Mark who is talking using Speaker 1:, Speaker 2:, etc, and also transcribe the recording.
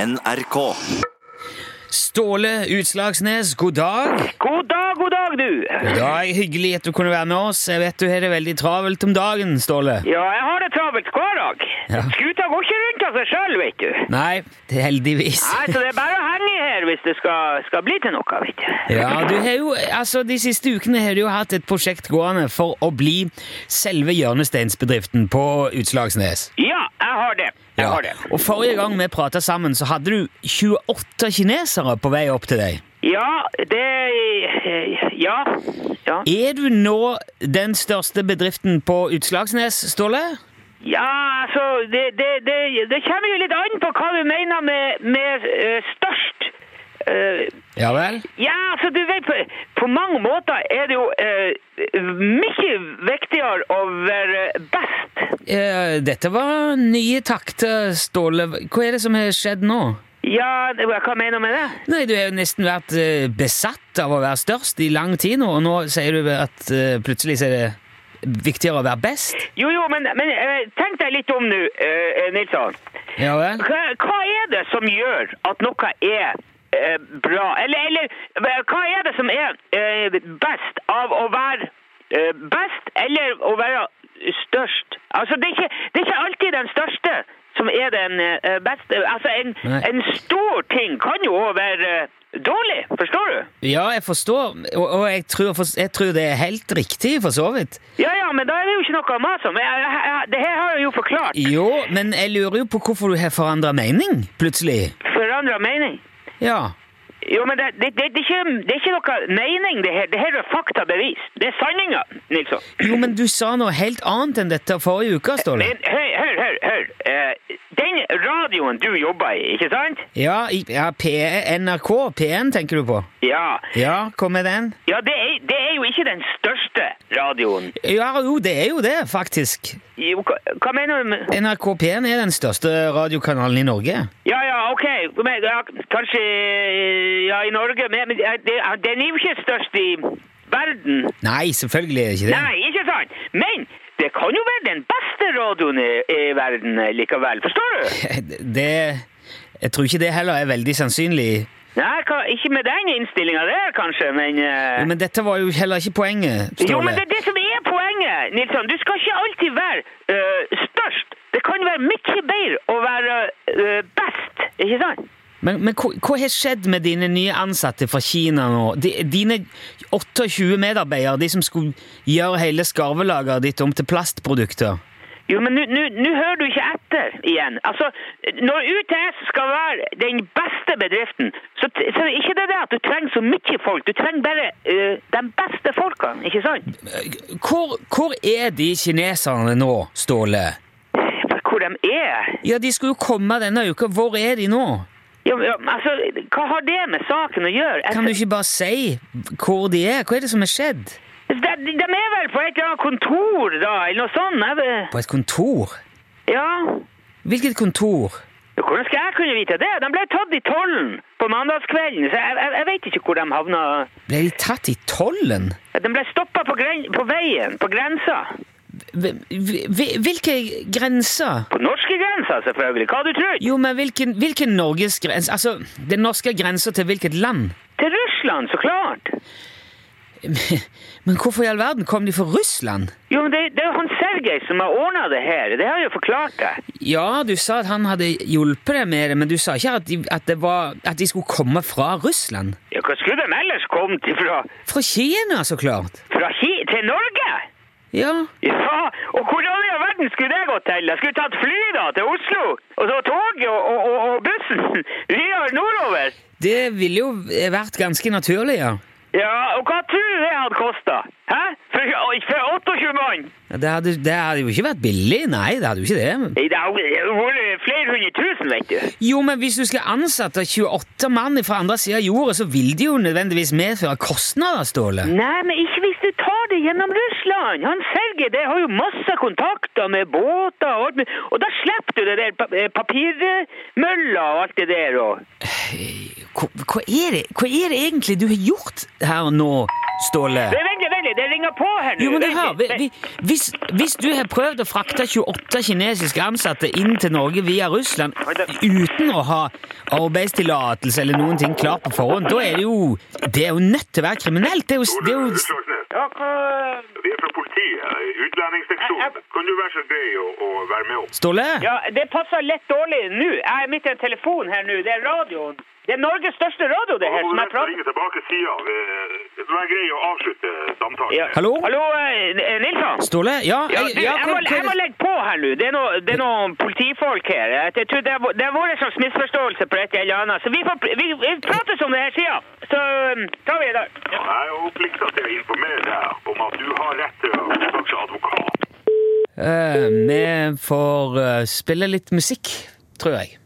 Speaker 1: NRK.
Speaker 2: Ståle Utslagsnes, god dag.
Speaker 3: God dag, god dag, du!
Speaker 2: God dag, Hyggelig at du kunne være med oss. Jeg vet du har det veldig travelt om dagen, Ståle.
Speaker 3: Ja, jeg har det travelt hver dag.
Speaker 2: Ja.
Speaker 3: Skuta går ikke rundt av seg sjøl, vet du.
Speaker 2: Nei, det er heldigvis.
Speaker 3: Nei, så det er bare å henge i her hvis det skal, skal bli til noe, vet du.
Speaker 2: Ja, du har jo, altså De siste ukene har du jo hatt et prosjekt gående for å bli selve hjørnesteinsbedriften på Utslagsnes.
Speaker 3: Ja, jeg har det. Jeg
Speaker 2: Ja.
Speaker 3: har det.
Speaker 2: Og Forrige gang vi prata sammen, så hadde du 28 kinesere på vei opp til deg.
Speaker 3: Ja, det Ja. Ja,
Speaker 2: Er du nå den største bedriften på Utslagsnes, Ståle?
Speaker 3: ja altså det, det, det, det kommer jo litt an på hva du mener med, med eh, størst. Eh,
Speaker 2: Ja vel?
Speaker 3: Ja, altså du vet, på, på mange måter er det jo eh, mye viktigere å være best.
Speaker 2: Eh, dette var nye takter, Ståle. Hva er det som har skjedd nå?
Speaker 3: Ja, det- hva mener du med det?
Speaker 2: Nei, Du har jo nesten vært eh, besatt av å være størst i lang tid nå, og nå sier du at eh, plutselig så er det viktigere å være best?
Speaker 3: Jo, jo, men, men eh, tenk deg litt om nå, eh, Nilsson.
Speaker 2: Ja vel?
Speaker 3: Hva, hva er det som gjør at noe er eh, bra? Eller, eller eh, hva er det som er eh, best av å være eh, best eller å være størst? Altså, det er, ikke, det er ikke alltid den største som er den eh, beste. Altså, en,
Speaker 2: Nei.
Speaker 3: en stor ting kan jo også være eh, dårlig, forstår du?
Speaker 2: Ja, jeg forstår, og, og jeg, tror, for- jeg tror det er helt riktig, for så vidt.
Speaker 3: Ja, ja, men da er det jo ikke noe å mase om. Jeg- jeg- jeg- Det her har jeg jo forklart.
Speaker 2: Jo, men jeg lurer jo på hvorfor du har forandra mening, plutselig.
Speaker 3: Forandra mening.
Speaker 2: Ja.
Speaker 3: Jo, men det, det, det, det, er ikke, det er ikke noe mening, det her. Det her er faktabevis. Det er sanninga, Nilsson.
Speaker 2: Jo, men du sa noe helt annet enn dette forrige uke, Ståle.
Speaker 3: Men hør, hør, hør. hør. Eh, den radioen du jobber i, ikke sant?
Speaker 2: Ja, i, ja P NRK, P1 tenker du på?
Speaker 3: Ja.
Speaker 2: Ja, hva med den?
Speaker 3: ja det, er, det er jo ikke den største radioen.
Speaker 2: Ja, jo, det er jo det, faktisk.
Speaker 3: Jo, hva, hva mener du med
Speaker 2: NRK P1 er den største radiokanalen i Norge.
Speaker 3: Ja, ja, OK. Men, ja, kanskje Ja, i Norge, men, men ja, det, ja, den er jo ikke størst i verden.
Speaker 2: Nei, selvfølgelig er det ikke det.
Speaker 3: Nei, ikke sant? Men det kan jo være den beste radioen i, i verden eh, likevel. Forstår du?
Speaker 2: Det Jeg tror ikke det heller er veldig sannsynlig.
Speaker 3: Nei, hva, ikke med den innstillinga der, kanskje, men eh,
Speaker 2: Jo, Men dette var jo heller ikke poenget,
Speaker 3: Jo, men
Speaker 2: Ståle.
Speaker 3: det er det som er poenget, Nilsson. Du skal ikke alltid være eh, størst. Det kan være mye bedre å være eh, best, ikke sant?
Speaker 2: Men, men hva, hva har skjedd med dine nye ansatte fra Kina nå? De, dine 28 medarbeidere, de som skulle gjøre hele skarvelageret ditt om til plastprodukter.
Speaker 3: Jo, men nå- nå nå hører du ikke etter igjen. Altså, når UTS skal være den beste bedriften, så, t- så er det ikke det der at du trenger så mye folk. Du trenger bare eh, de beste folkene, ikke sant?
Speaker 2: Hvor, hvor er de kineserne nå, Ståle?
Speaker 3: For hvor de er
Speaker 2: Ja, de skulle jo komme denne uka. Hvor er de nå?
Speaker 3: ja, men, ja, altså, Hva har det med saken å gjøre? Jeg-
Speaker 2: Kan du ikke bare si hvor de er? Hva er det som har skjedd?
Speaker 3: De, de er vel på et eller annet kontor, da, eller noe sånt? Jeg, vet-
Speaker 2: På et kontor?
Speaker 3: ja.
Speaker 2: Hvilket kontor?
Speaker 3: Jo, Hvordan skal jeg kunne vite det? De ble tatt i tollen på mandagskvelden, så jeg, jeg, jeg vet ikke hvor de havna.
Speaker 2: Ble de tatt i tollen?
Speaker 3: De ble stoppa på, gren- på veien, på grensa.
Speaker 2: Hv- hv- Hvilke grenser?
Speaker 3: På norske grensa, selvfølgelig. Hva du tror?
Speaker 2: Jo, men hvilken, hvilken Norges grense? Altså, den norske grensa til hvilket land?
Speaker 3: Til Russland, så klart.
Speaker 2: Men hvorfor i all verden kom de fra Russland?
Speaker 3: Jo, men det, det er jo han Sergej som har ordna det her. Det har jeg jo forklart deg.
Speaker 2: Ja, du sa at han hadde hjulpet deg med det, men du sa ikke at de, at det var, at de skulle komme fra Russland.
Speaker 3: Ja, hva skulle de ellers kommet fra?
Speaker 2: Fra Kina, så klart.
Speaker 3: Fra Ki til Norge?
Speaker 2: Ja,
Speaker 3: Ja, og hvordan i all verden skulle det gått til? Jeg skulle tatt fly da, til Oslo, og så tog og, og, og, og bussen videre nordover.
Speaker 2: det ville jo vært ganske naturlig, ja.
Speaker 3: Ja, og hva tror du det hadde kostet? Hæ? For, for 28 mann?
Speaker 2: Ja, Det hadde, det hadde jo ikke vært billig, nei, det hadde jo ikke det.
Speaker 3: Det har jo vært flere hundre tusen, vet du.
Speaker 2: Jo, men hvis du skal ansette 28 mann fra andre siden av jorda, så vil det jo nødvendigvis medføre kostnader, Ståle.
Speaker 3: Nei, men ikke hvis du tar det gjennom Russland. Han Sergej, det har jo masse kontakter med båter og alt, mulig, og da slipper du det der pa- eh, papirmølla og alt det der. Og.
Speaker 2: Hva, hva, er det, hva er det egentlig du har gjort her nå, Ståle?
Speaker 3: Nei, Vent litt, vent litt. det ringer på her nå.
Speaker 2: Jo, men du
Speaker 3: Vent
Speaker 2: hør, vi,
Speaker 3: litt,
Speaker 2: vi,
Speaker 3: vent.
Speaker 2: hvis, hvis du har prøvd å frakte 28 kinesiske ansatte inn til Norge via Russland uten å ha arbeidstillatelse eller noen ting klart på forhånd, da er det jo Det er jo nødt til å være kriminelt! Det er jo, det er jo
Speaker 1: Slagsnes,
Speaker 3: Ja, hva-
Speaker 1: vi er fra politiet, utlendingsseksjonen. Kan du være så grei å, å være med opp?
Speaker 2: Ståle?
Speaker 3: Ja, det passer lett dårlig nå. Jeg er midt i en telefon her nå. Det er radioen. Det er Norges største radio, det her, som jeg prater
Speaker 1: Ringe tilbake sida. Vær grei å avslutte samtalen.
Speaker 3: ja.
Speaker 2: Hallo?
Speaker 3: Hallo, eh, Nilsson?
Speaker 2: Ståle? Ja?
Speaker 3: Ja,
Speaker 2: jeg-
Speaker 3: du,
Speaker 2: ja,
Speaker 3: jeg,
Speaker 2: hva-
Speaker 3: må,
Speaker 2: hva-
Speaker 3: jeg må legge på her nå. Det er noe- det er noen politifolk her. Jeg- Jeg tror det er, vå- det er vår slags misforståelse på et eller annet. Så vi, får, pr- vi, vi prates om det her sida. Så um, tar vi det der. Ja.
Speaker 1: Jeg er jo plikta til å informere deg om at du har rett til å kontakte advokat.
Speaker 2: Eh, vi får eh, spille litt musikk, tror jeg.